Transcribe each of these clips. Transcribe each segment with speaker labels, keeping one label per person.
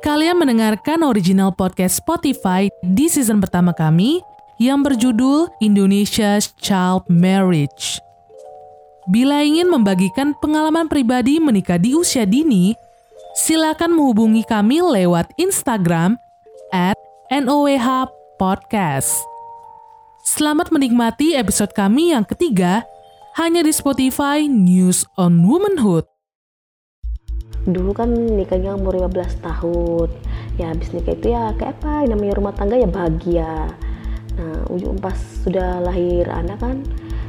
Speaker 1: Kalian mendengarkan original podcast Spotify di season pertama kami yang berjudul Indonesia's Child Marriage. Bila ingin membagikan pengalaman pribadi menikah di usia dini, silakan menghubungi kami lewat Instagram at NOWH Podcast. Selamat menikmati episode kami yang ketiga hanya di Spotify News on Womanhood.
Speaker 2: dulu kan nikahnya umur 15 tahun ya habis nikah itu ya kayak apa namanya rumah tangga ya bahagia nah ujung pas sudah lahir anak kan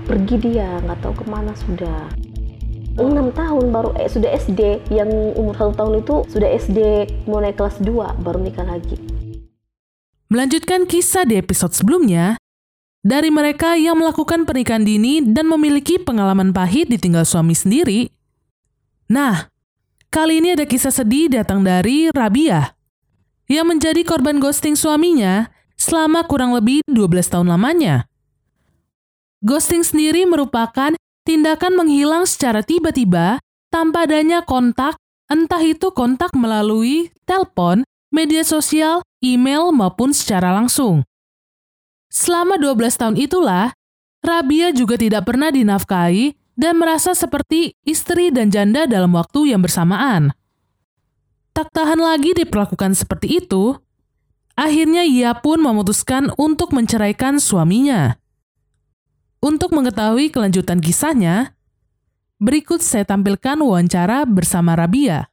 Speaker 2: pergi dia nggak tahu kemana sudah enam tahun baru eh, sudah SD yang umur satu tahun itu sudah SD mau naik kelas 2 baru nikah lagi
Speaker 1: Melanjutkan kisah di episode sebelumnya, dari mereka yang melakukan pernikahan dini dan memiliki pengalaman pahit ditinggal suami sendiri. Nah, kali ini ada kisah sedih datang dari Rabia, yang menjadi korban ghosting suaminya selama kurang lebih 12 tahun lamanya. Ghosting sendiri merupakan tindakan menghilang secara tiba-tiba tanpa adanya kontak, entah itu kontak melalui telepon, media sosial, email, maupun secara langsung. Selama 12 tahun itulah, Rabia juga tidak pernah dinafkahi dan merasa seperti istri dan janda dalam waktu yang bersamaan. Tak tahan lagi diperlakukan seperti itu, akhirnya ia pun memutuskan untuk menceraikan suaminya. Untuk mengetahui kelanjutan kisahnya, berikut saya tampilkan wawancara bersama Rabia.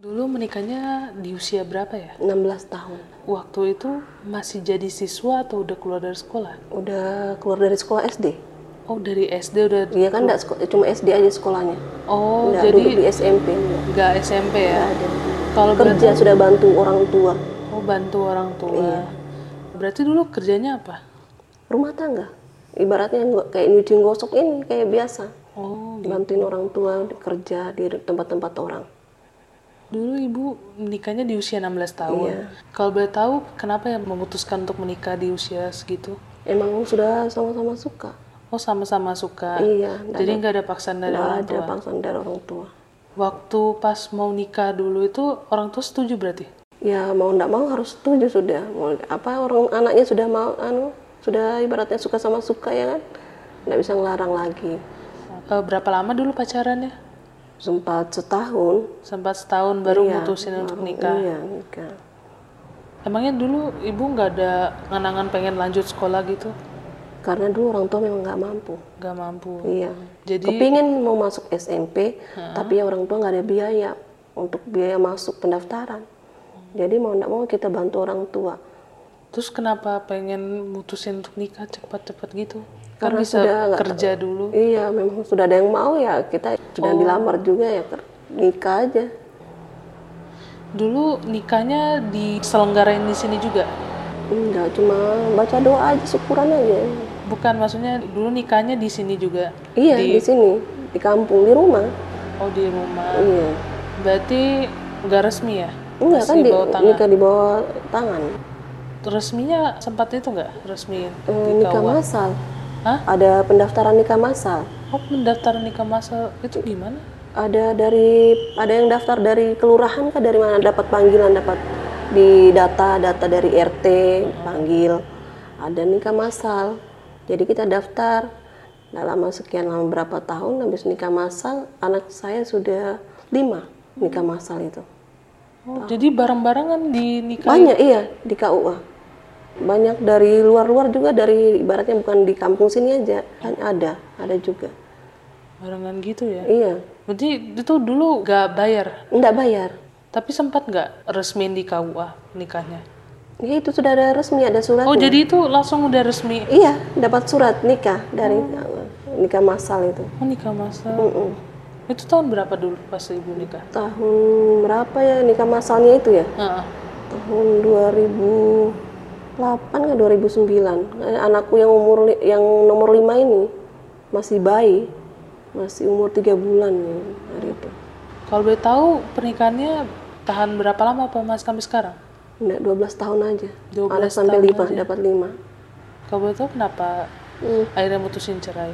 Speaker 3: Dulu menikahnya di usia berapa ya?
Speaker 2: 16 tahun
Speaker 3: Waktu itu masih jadi siswa atau udah keluar dari sekolah?
Speaker 2: udah keluar dari sekolah SD
Speaker 3: Oh dari SD udah.
Speaker 2: dia kan enggak seko- cuma SD aja sekolahnya
Speaker 3: Oh
Speaker 2: Nggak
Speaker 3: jadi
Speaker 2: duduk di SMP enggak.
Speaker 3: nggak SMP ya?
Speaker 2: Nggak ada.
Speaker 3: Kalau berarti
Speaker 2: kerja sudah bantu orang tua
Speaker 3: oh bantu orang tua.
Speaker 2: Iya.
Speaker 3: Berarti dulu kerjanya apa?
Speaker 2: rumah tangga ibaratnya nggak kayak nyuci gosok ini kayak biasa
Speaker 3: Oh
Speaker 2: bantuin orang tua kerja di tempat-tempat orang
Speaker 3: dulu ibu menikahnya di usia 16 tahun.
Speaker 2: Iya.
Speaker 3: Kalau boleh tahu kenapa yang memutuskan untuk menikah di usia segitu?
Speaker 2: emang sudah sama-sama suka
Speaker 3: Oh sama-sama suka.
Speaker 2: iya nggak
Speaker 3: Jadi nggak ada paksaan dari
Speaker 2: nggak
Speaker 3: orang
Speaker 2: ada
Speaker 3: tua.
Speaker 2: paksaan dari orang tua
Speaker 3: Waktu pas mau nikah dulu itu orang tua setuju berarti?
Speaker 2: ya mau nggak mau harus setuju sudah mau apa orang anaknya sudah mau anu sudah ibaratnya suka sama suka ya kan nggak bisa ngelarang lagi
Speaker 3: Eh, berapa lama dulu pacarannya?
Speaker 2: sempat setahun
Speaker 3: Sempat setahun baru
Speaker 2: Iya,
Speaker 3: mutusin untuk
Speaker 2: baru-
Speaker 3: nikah.
Speaker 2: iya nikah
Speaker 3: Emangnya dulu ibu nggak ada nganangan pengen lanjut sekolah gitu?
Speaker 2: karena dulu orang tua memang nggak mampu
Speaker 3: Nggak mampu.
Speaker 2: Iya.
Speaker 3: Jadi-
Speaker 2: kepingin mau masuk SMP, tapi ya orang tua nggak ada biaya untuk biaya masuk pendaftaran. Jadi mau nggak mau kita bantu orang tua.
Speaker 3: Terus kenapa pengen mutusin untuk nikah cepat-cepat gitu? Kan
Speaker 2: Karena
Speaker 3: bisa
Speaker 2: sudah nggak
Speaker 3: kerja dulu. Oh.
Speaker 2: Iya, memang sudah ada yang mau ya kita sudah dilamar juga ya ker- nikah aja.
Speaker 3: Dulu nikahnya diselenggarain di sini juga?
Speaker 2: Enggak cuma baca doa aja syukuran aja.
Speaker 3: Bukan maksudnya dulu nikahnya di sini juga?
Speaker 2: Iya di, sini di kampung di rumah.
Speaker 3: Oh di rumah.
Speaker 2: Iya.
Speaker 3: Berarti nggak resmi ya?
Speaker 2: Enggak kan
Speaker 3: Masih
Speaker 2: di,
Speaker 3: bawa tangan.
Speaker 2: nikah di bawah tangan.
Speaker 3: Resminya sempat itu nggak resmiin?
Speaker 2: Eh, nikah masal.
Speaker 3: Hah?
Speaker 2: Ada pendaftaran nikah masal.
Speaker 3: Oh pendaftaran nikah masal itu gimana?
Speaker 2: ada dari ada yang daftar dari kelurahan kah dari mana dapat panggilan dapat di data data dari RT panggil ada nikah masal jadi kita daftar nggak lama sekian lama berapa tahun habis nikah masal anak saya sudah lima nikah masal itu
Speaker 3: Oh, jadi bareng-barengan di nikah
Speaker 2: banyak iya di KUA banyak dari luar-luar juga dari ibaratnya bukan di kampung sini aja kan ada ada juga
Speaker 3: barengan gitu ya?
Speaker 2: iya
Speaker 3: Berarti itu dulu gak bayar,
Speaker 2: nggak bayar
Speaker 3: tapi sempat gak resmi di KUA nikahnya.
Speaker 2: ya itu sudah ada resmi ada surat
Speaker 3: Oh jadi itu langsung udah resmi?
Speaker 2: Iya, dapat surat nikah dari uh, nikah masal itu.
Speaker 3: Oh nikah masal.
Speaker 2: Mm-mm.
Speaker 3: Itu tahun berapa dulu pas ibu nikah?
Speaker 2: Tahun berapa ya nikah masalnya itu ya?
Speaker 3: Heeh.
Speaker 2: Tahun 2008 ke 2009. Eh, Anakku yang umur li- yang nomor 5 ini masih bayi, masih umur 3 bulan ya hari itu.
Speaker 3: Kalau boleh tahu pernikahannya tahan berapa lama apa mas sampai sekarang?
Speaker 2: Enggak 12 tahun aja.
Speaker 3: 12
Speaker 2: Anak sampai 5 dapat 5.
Speaker 3: Kalau boleh tahu kenapa
Speaker 2: Mm.
Speaker 3: akhirnya mutusin cerai?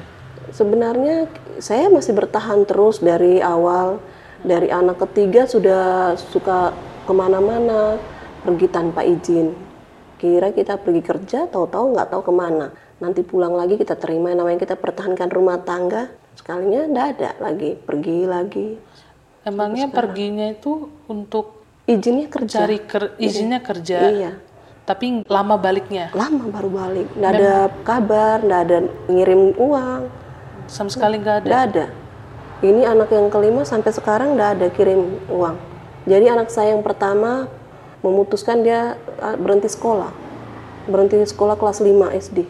Speaker 2: Sebenarnya saya masih bertahan terus dari awal dari anak ketiga sudah suka kemana-mana, pergi tanpa izin. Kira kita pergi kerja, tahu-tahu nggak tahu kemana. Nanti pulang lagi kita terima yang namanya kita pertahankan rumah tangga. Sekalinya nggak ada lagi, pergi lagi.
Speaker 3: Emangnya perginya itu untuk
Speaker 2: Izinnya kerja.
Speaker 3: cari ker- izinnya kerja,
Speaker 2: Iya.
Speaker 3: tapi lama baliknya
Speaker 2: Lama baru balik, nggak ada kabar, nggak ada ngirim uang,
Speaker 3: sama sekali nggak ada.
Speaker 2: nggak ada. Ini anak yang kelima sampai sekarang nggak ada kirim uang. Jadi anak saya yang pertama memutuskan dia ah, berhenti sekolah. Berhenti sekolah kelas 5 SD.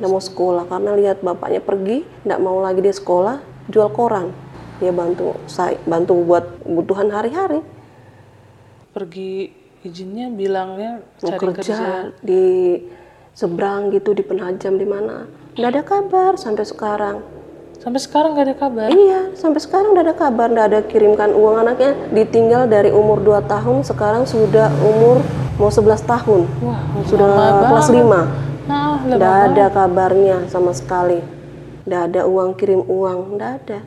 Speaker 2: Nggak mau sekolah karena lihat bapaknya pergi, nggak mau lagi dia sekolah, jual koran. Dia bantu saya bantu buat kebutuhan hari-hari.
Speaker 3: Pergi izinnya bilangnya
Speaker 2: mau
Speaker 3: cari
Speaker 2: kerja,
Speaker 3: kerja.
Speaker 2: di seberang gitu di penajam di mana nggak ada kabar sampai sekarang
Speaker 3: Sampai sekarang nggak ada kabar.
Speaker 2: iya sampai sekarang nggak ada kabar nggak ada kirimkan uang anaknya ditinggal dari umur 2 tahun sekarang sudah umur mau 11 tahun
Speaker 3: Wah,
Speaker 2: sudah
Speaker 3: lama
Speaker 2: kelas
Speaker 3: banget.
Speaker 2: 5
Speaker 3: Nah, lama
Speaker 2: nggak
Speaker 3: banget.
Speaker 2: ada kabarnya sama sekali nggak ada uang kirim uang nggak ada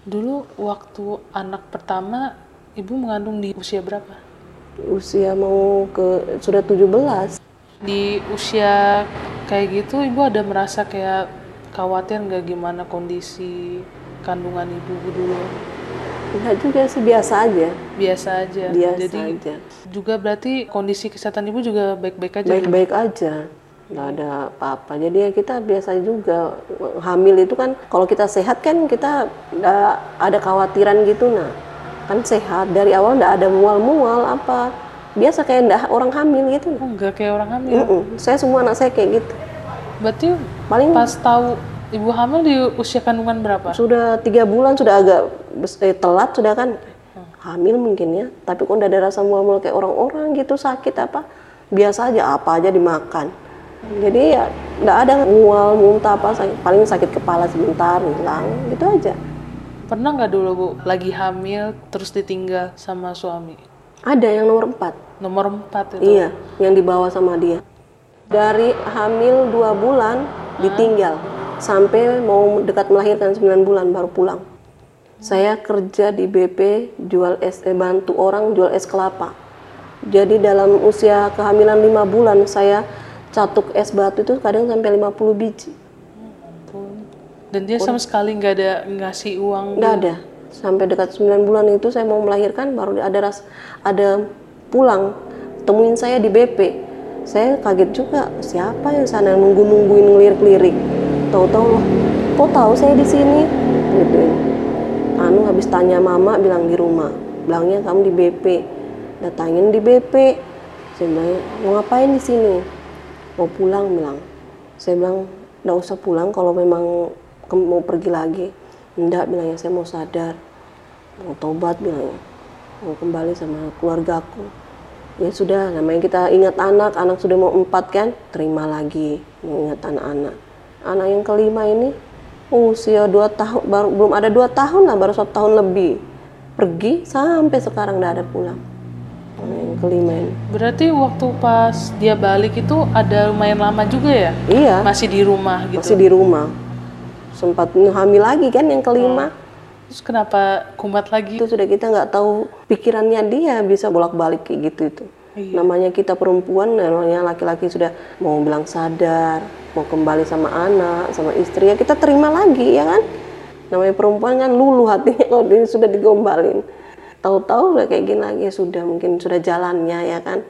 Speaker 3: Dulu waktu anak pertama, ibu mengandung di usia berapa?
Speaker 2: usia mau ke sudah 17
Speaker 3: Di usia kayak gitu, ibu ada merasa kayak khawatir nggak gimana kondisi kandungan ibu dulu?
Speaker 2: nggak juga sih biasa aja
Speaker 3: Biasa aja.
Speaker 2: biasa
Speaker 3: Ya, Jadi
Speaker 2: aja
Speaker 3: juga berarti kondisi kesehatan ibu juga baik-baik aja.
Speaker 2: baik-baik aja nggak ada apa-apa jadi ya kita biasa juga hamil itu kan kalau kita sehat kan kita nggak ada khawatiran gitu nah kan sehat dari awal nggak ada mual-mual apa biasa kayak ndak orang hamil gitu
Speaker 3: Oh, nggak kayak orang hamil.
Speaker 2: Mm-mm. saya semua anak saya kayak gitu
Speaker 3: Berarti
Speaker 2: paling
Speaker 3: pas tahu ibu hamil di usia kandungan berapa?
Speaker 2: sudah tiga bulan sudah agak bes- eh, telat sudah kan hamil mungkin ya tapi kok nggak ada rasa mual-mual kayak orang-orang gitu sakit apa biasa aja apa aja dimakan jadi ya nggak ada mual muntah apa sakit. paling sakit kepala sebentar hilang gitu aja
Speaker 3: Pernah nggak dulu bu lagi hamil terus ditinggal sama suami?
Speaker 2: ada yang nomor empat
Speaker 3: Nomor empat itu.
Speaker 2: iya yang dibawa sama dia dari hamil dua bulan ditinggal sampai mau dekat melahirkan 9 bulan baru pulang Saya kerja di BP jual es eh, bantu orang jual es kelapa. Jadi dalam usia kehamilan 5 bulan saya catuk es batu itu kadang sampai 50 biji.
Speaker 3: Dan dia sama sekali nggak ada ngasih uang.
Speaker 2: Enggak ada. Sampai dekat 9 bulan itu saya mau melahirkan baru ada ras ada pulang temuin saya di BP. Saya kaget juga, siapa yang sana nunggu-nungguin ngelirik-lirik. Tahu-tahu, "Loh, kok tahu saya di sini? Gitu. Anu habis tanya mama bilang di rumah, bilangnya kamu di BP. Datangin di BP. Saya bilang, mau ngapain di sini? Mau pulang bilang. Saya bilang, nggak usah pulang kalau memang ke- mau pergi lagi. Enggak bilangnya, saya mau sadar. Mau tobat bilangnya. Mau kembali sama keluarga aku. Ya sudah, namanya kita ingat anak, anak sudah mau empat kan, terima lagi, mengingat anak-anak. Anak yang kelima ini usia dua tahun, baru belum ada dua tahun lah, baru satu tahun lebih. Pergi sampai sekarang nggak ada pulang. Anak yang kelima ini.
Speaker 3: Berarti waktu pas dia balik itu ada lumayan lama juga ya?
Speaker 2: Iya,
Speaker 3: Masih di rumah gitu.
Speaker 2: masih di rumah. Sempat hamil lagi kan yang kelima.
Speaker 3: Terus kenapa kumat lagi?
Speaker 2: Itu sudah kita nggak tahu pikirannya dia bisa bolak-balik kayak gitu itu.
Speaker 3: Iya.
Speaker 2: Namanya kita perempuan, namanya laki-laki sudah mau bilang sadar, mau kembali sama anak, sama istri ya kita terima lagi ya kan. Namanya perempuan kan lulu hatinya kalau dia sudah digombalin. Tahu-tahu udah kayak gini lagi ya sudah mungkin sudah jalannya ya kan.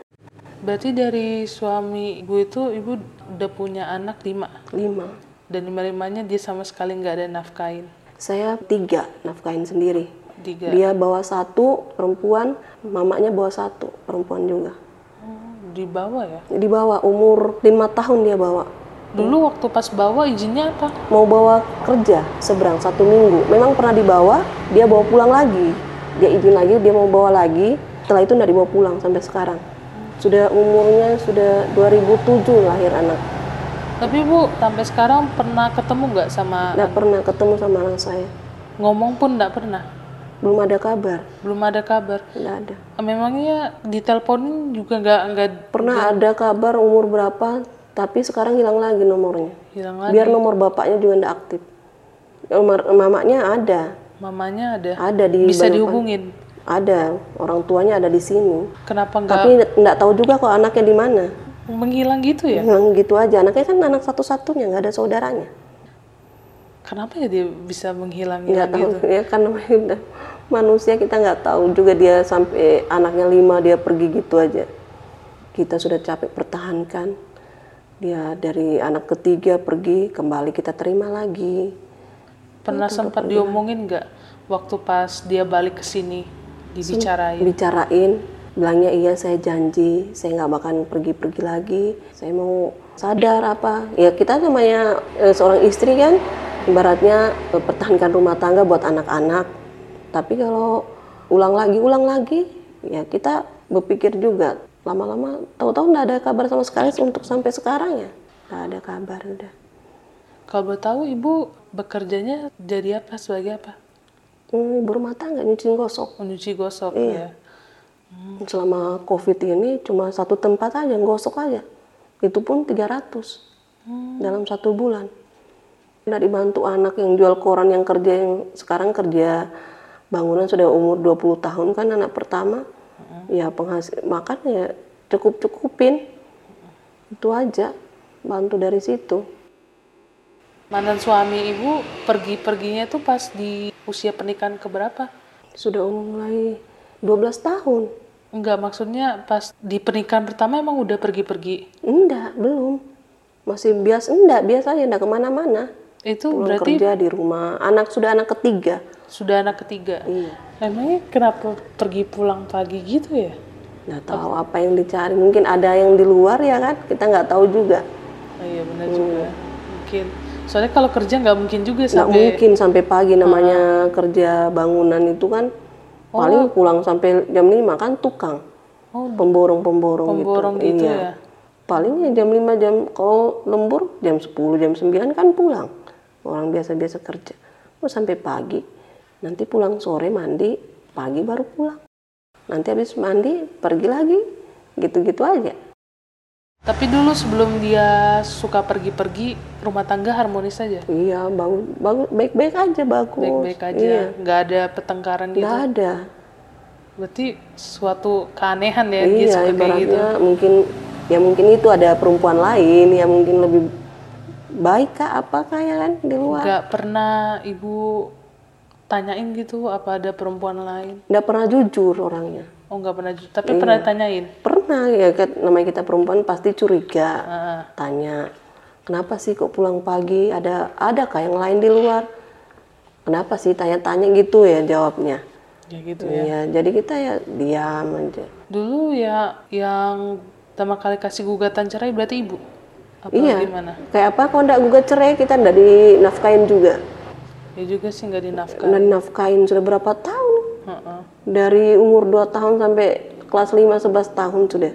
Speaker 3: Berarti dari suami ibu itu ibu udah punya anak lima
Speaker 2: Lima.
Speaker 3: dan lima limanya dia sama sekali nggak ada nafkain
Speaker 2: Saya tiga nafkahin sendiri.
Speaker 3: tiga.
Speaker 2: Dia bawa satu perempuan, mamanya bawa satu perempuan juga.
Speaker 3: Oh, di bawah ya?
Speaker 2: Dibawa umur lima tahun dia bawa.
Speaker 3: Dulu waktu pas bawa izinnya apa?
Speaker 2: mau bawa kerja seberang satu minggu. Memang pernah dibawa, dia bawa pulang lagi. Dia izin lagi, dia mau bawa lagi. Setelah itu nggak dibawa pulang sampai sekarang. Sudah umurnya sudah 2007 lahir anak.
Speaker 3: Tapi Bu, sampai sekarang pernah ketemu nggak sama
Speaker 2: Nggak pernah ketemu sama anak saya.
Speaker 3: ngomong pun nggak pernah?
Speaker 2: Belum ada kabar,
Speaker 3: Belum ada kabar.
Speaker 2: nggak ada.
Speaker 3: Memangnya diteleponin juga nggak nggak
Speaker 2: Pernah ada kabar umur berapa, tapi sekarang hilang lagi nomornya.
Speaker 3: hilang lagi.
Speaker 2: Biar nomor bapaknya juga nggak aktif. Nomor mamanya ada,
Speaker 3: Mamanya ada.
Speaker 2: ada di
Speaker 3: Bisa
Speaker 2: Ah, Balikpapan.
Speaker 3: dihubungin.
Speaker 2: Ada, orang tuanya ada di sini.
Speaker 3: Kenapa nggak
Speaker 2: Tapi nggak tahu juga kok anaknya di mana.
Speaker 3: menghilang gitu ya?
Speaker 2: Hilang gitu aja. Anaknya kan anak satu-satunya, nggak ada saudaranya.
Speaker 3: Kenapa ya dia bisa menghilang
Speaker 2: Nggak tahu
Speaker 3: gitu?
Speaker 2: ya kan namanya udah manusia kita nggak tahu juga dia sampai anaknya lima dia pergi gitu aja. Kita sudah capek pertahankan. Dia dari anak ketiga pergi, kembali kita terima lagi.
Speaker 3: Pernah sempat diomongin nggak waktu pas dia balik ke sini dibicarain?
Speaker 2: bicarain bilangnya iya saya janji saya nggak bakal pergi-pergi lagi saya mau sadar apa ya kita namanya eh, seorang istri kan ibaratnya eh, pertahankan rumah tangga buat anak-anak tapi kalau ulang lagi ulang lagi ya kita berpikir juga lama-lama tahu-tahu nggak ada kabar sama sekali untuk sampai sekarang ya nggak ada kabar udah
Speaker 3: Kalau boleh tahu ibu bekerjanya jadi apa sebagai apa?
Speaker 2: hmm, ibu rumah tangga nyuci gosok
Speaker 3: Menyuci gosok
Speaker 2: Iya.
Speaker 3: ya.
Speaker 2: selama covid ini cuma satu tempat aja gosok aja itu pun 300 dalam satu bulan nggak dibantu anak yang jual koran yang kerja yang sekarang kerja bangunan sudah umur 20 tahun kan anak pertama ya penghasil makan ya cukup cukupin itu aja bantu dari situ
Speaker 3: Mantan suami ibu pergi-perginya tuh pas di usia pernikahan keberapa?
Speaker 2: sudah mulai 12 tahun
Speaker 3: Enggak, maksudnya pas di pernikahan pertama emang udah pergi-pergi.
Speaker 2: enggak belum masih biasa enggak biasa aja enggak kemana-mana
Speaker 3: Itu
Speaker 2: Pulang
Speaker 3: berarti
Speaker 2: kerja di rumah anak sudah anak ketiga
Speaker 3: sudah anak ketiga.
Speaker 2: Iya.
Speaker 3: Emangnya kenapa pergi pulang pagi gitu ya?
Speaker 2: nggak tahu apa yang dicari mungkin ada yang di luar ya kan kita nggak tahu juga
Speaker 3: Oh, iya benar juga. Mungkin. Soalnya kalau kerja nggak mungkin juga
Speaker 2: Hmm. nggak
Speaker 3: sampai Ah.
Speaker 2: mungkin sampai pagi namanya kerja bangunan itu kan paling pulang sampai jam 5 kan tukang
Speaker 3: Oh.
Speaker 2: pemborong pemborong
Speaker 3: pemborong gitu ya.
Speaker 2: palingnya jam 5 jam kalau lembur jam 10 jam 9 kan pulang orang biasa-biasa kerja mau sampai pagi nanti pulang sore mandi pagi baru pulang nanti habis mandi pergi lagi gitu-gitu aja
Speaker 3: Tapi dulu sebelum dia suka pergi-pergi, rumah tangga harmonis saja.
Speaker 2: iya bagus bagus baik-baik aja bagus
Speaker 3: Baik-baik
Speaker 2: Iya,
Speaker 3: aja, nggak ada pertengkaran gitu.
Speaker 2: nggak ada
Speaker 3: Berarti suatu keanehan ya dia
Speaker 2: iya
Speaker 3: suka kayak gitu.
Speaker 2: ibaratnya mungkin ya mungkin itu ada perempuan lain yang mungkin lebih baik kah apa kah ya kan di luar
Speaker 3: Nggak pernah ibu tanyain gitu apa ada perempuan lain.
Speaker 2: nggak pernah jujur orangnya
Speaker 3: Oh nggak pernah, ju- tapi
Speaker 2: Iya.
Speaker 3: pernah tanyain.
Speaker 2: pernah ya kan namanya kita perempuan pasti curiga
Speaker 3: Ah,
Speaker 2: tanya kenapa sih kok pulang pagi ada ada kah yang lain di luar kenapa sih tanya-tanya gitu ya jawabnya
Speaker 3: ya gitu ya.
Speaker 2: iya jadi kita ya diam aja
Speaker 3: Dulu ya yang pertama kali kasih gugatan cerai berarti ibu. Apa
Speaker 2: Iya.
Speaker 3: gimana?
Speaker 2: kayak apa kalau nggak gugat cerai kita nggak dinafkain juga
Speaker 3: Ya juga sih nggak dinafkahin.
Speaker 2: nggak dinafkain sudah berapa tahun
Speaker 3: Heeh.
Speaker 2: dari umur 2 tahun sampai kelas 5 11 tahun sudah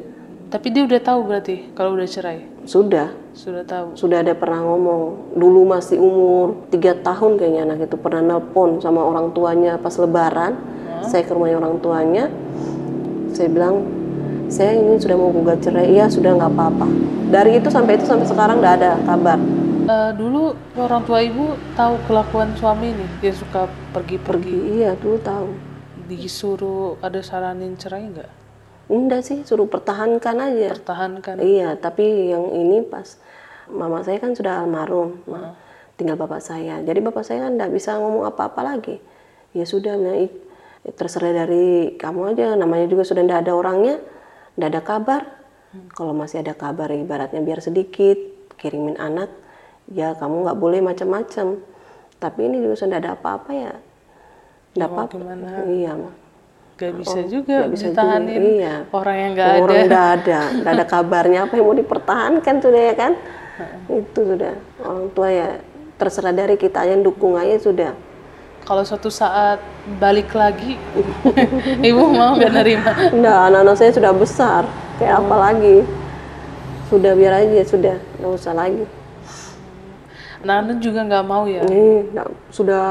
Speaker 3: Tapi dia udah tahu berarti kalau udah cerai.
Speaker 2: sudah
Speaker 3: Sudah tahu.
Speaker 2: sudah ada pernah ngomong dulu masih umur 3 tahun kayaknya anak itu pernah nelpon sama orang tuanya pas lebaran saya ke rumahnya orang tuanya saya bilang saya ini sudah mau gugat cerai iya sudah nggak apa-apa dari itu sampai itu sampai sekarang nggak ada kabar
Speaker 3: Eh, dulu orang tua ibu tahu kelakuan suami nih. Dia suka pergi-pergi.
Speaker 2: iya dulu tahu
Speaker 3: Disuruh ada saranin cerai nggak?
Speaker 2: enggak sih suruh pertahankan aja
Speaker 3: Pertahankan.
Speaker 2: Iya, tapi yang ini pas mama saya kan sudah almarhum, Ma. tinggal bapak saya. Jadi bapak saya kan nggak bisa ngomong apa-apa lagi. Ya sudah, bilang, "Ih, terserah dari kamu aja. Namanya juga sudah nggak ada orangnya, nggak ada kabar.
Speaker 3: Hmm.
Speaker 2: Kalau masih ada kabar, ibaratnya biar sedikit kirimin anak. Ya kamu nggak boleh macam-macam. Tapi ini juga sudah nggak ada apa-apa ya. Nggak apa-apa. Iya, Ma.
Speaker 3: Gak bisa juga
Speaker 2: Oh, nggak bisa juga,
Speaker 3: ditahanin
Speaker 2: iya.
Speaker 3: orang yang nggak ada.
Speaker 2: orang nggak ada nggak ada kabarnya apa yang mau dipertahankan sudah ya kan itu sudah orang tua ya terserah dari kita aja dukung aja sudah
Speaker 3: Kalau suatu saat balik lagi, ibu mau nggak nerima?
Speaker 2: nggak anak-anak saya sudah besar kayak
Speaker 3: Oh.
Speaker 2: apa lagi sudah biar aja sudah nggak usah lagi
Speaker 3: Nana juga nggak mau ya.
Speaker 2: Nih, Iya, nggak- sudah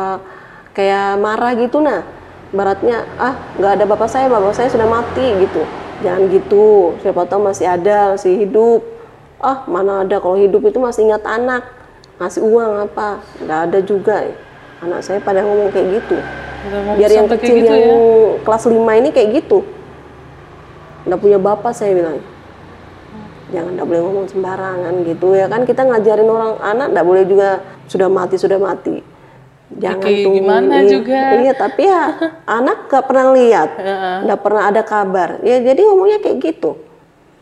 Speaker 2: kayak marah gitu nah baratnya ah nggak ada bapak saya bapak saya sudah mati gitu jangan gitu siapa tahu masih ada masih hidup ah mana ada kalau hidup itu masih ingat eh. anak ngasih uang apa nggak ada juga anak saya pada ngomong kayak gitu
Speaker 3: Memang
Speaker 2: biar yang
Speaker 3: sampai kayak
Speaker 2: kecil
Speaker 3: gitu
Speaker 2: yang kelas 5 ini kayak gitu nggak punya bapak saya bilang jangan nggak boleh ngomong sembarangan gitu ya kan kita ngajarin orang anak nggak boleh juga sudah mati sudah mati jangan
Speaker 3: Oke,
Speaker 2: tuh
Speaker 3: gimana
Speaker 2: ini-
Speaker 3: juga.
Speaker 2: iya tapi ya anak nggak pernah lihat nggak pernah ada kabar ya jadi ngomongnya kayak gitu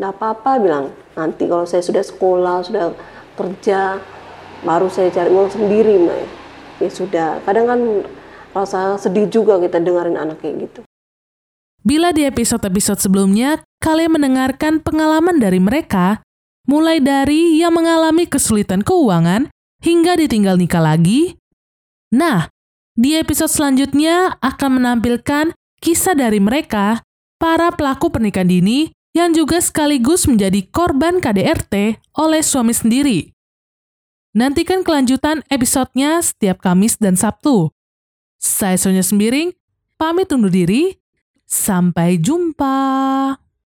Speaker 2: nggak apa-apa bilang nanti kalau saya sudah sekolah sudah kerja baru saya cari uang sendiri Mai." ya sudah kadang kan rasa sedih juga kita dengerin anak kayak gitu
Speaker 1: Bila di episode-episode sebelumnya kalian mendengarkan pengalaman dari mereka, mulai dari yang mengalami kesulitan keuangan hingga ditinggal nikah lagi. Nah, di episode selanjutnya akan menampilkan kisah dari mereka, para pelaku pernikahan dini yang juga sekaligus menjadi korban KDRT oleh suami sendiri. Nantikan kelanjutan episodenya setiap Kamis dan Sabtu. Saya Sonya Sembiring, pamit undur diri. Sampai jumpa.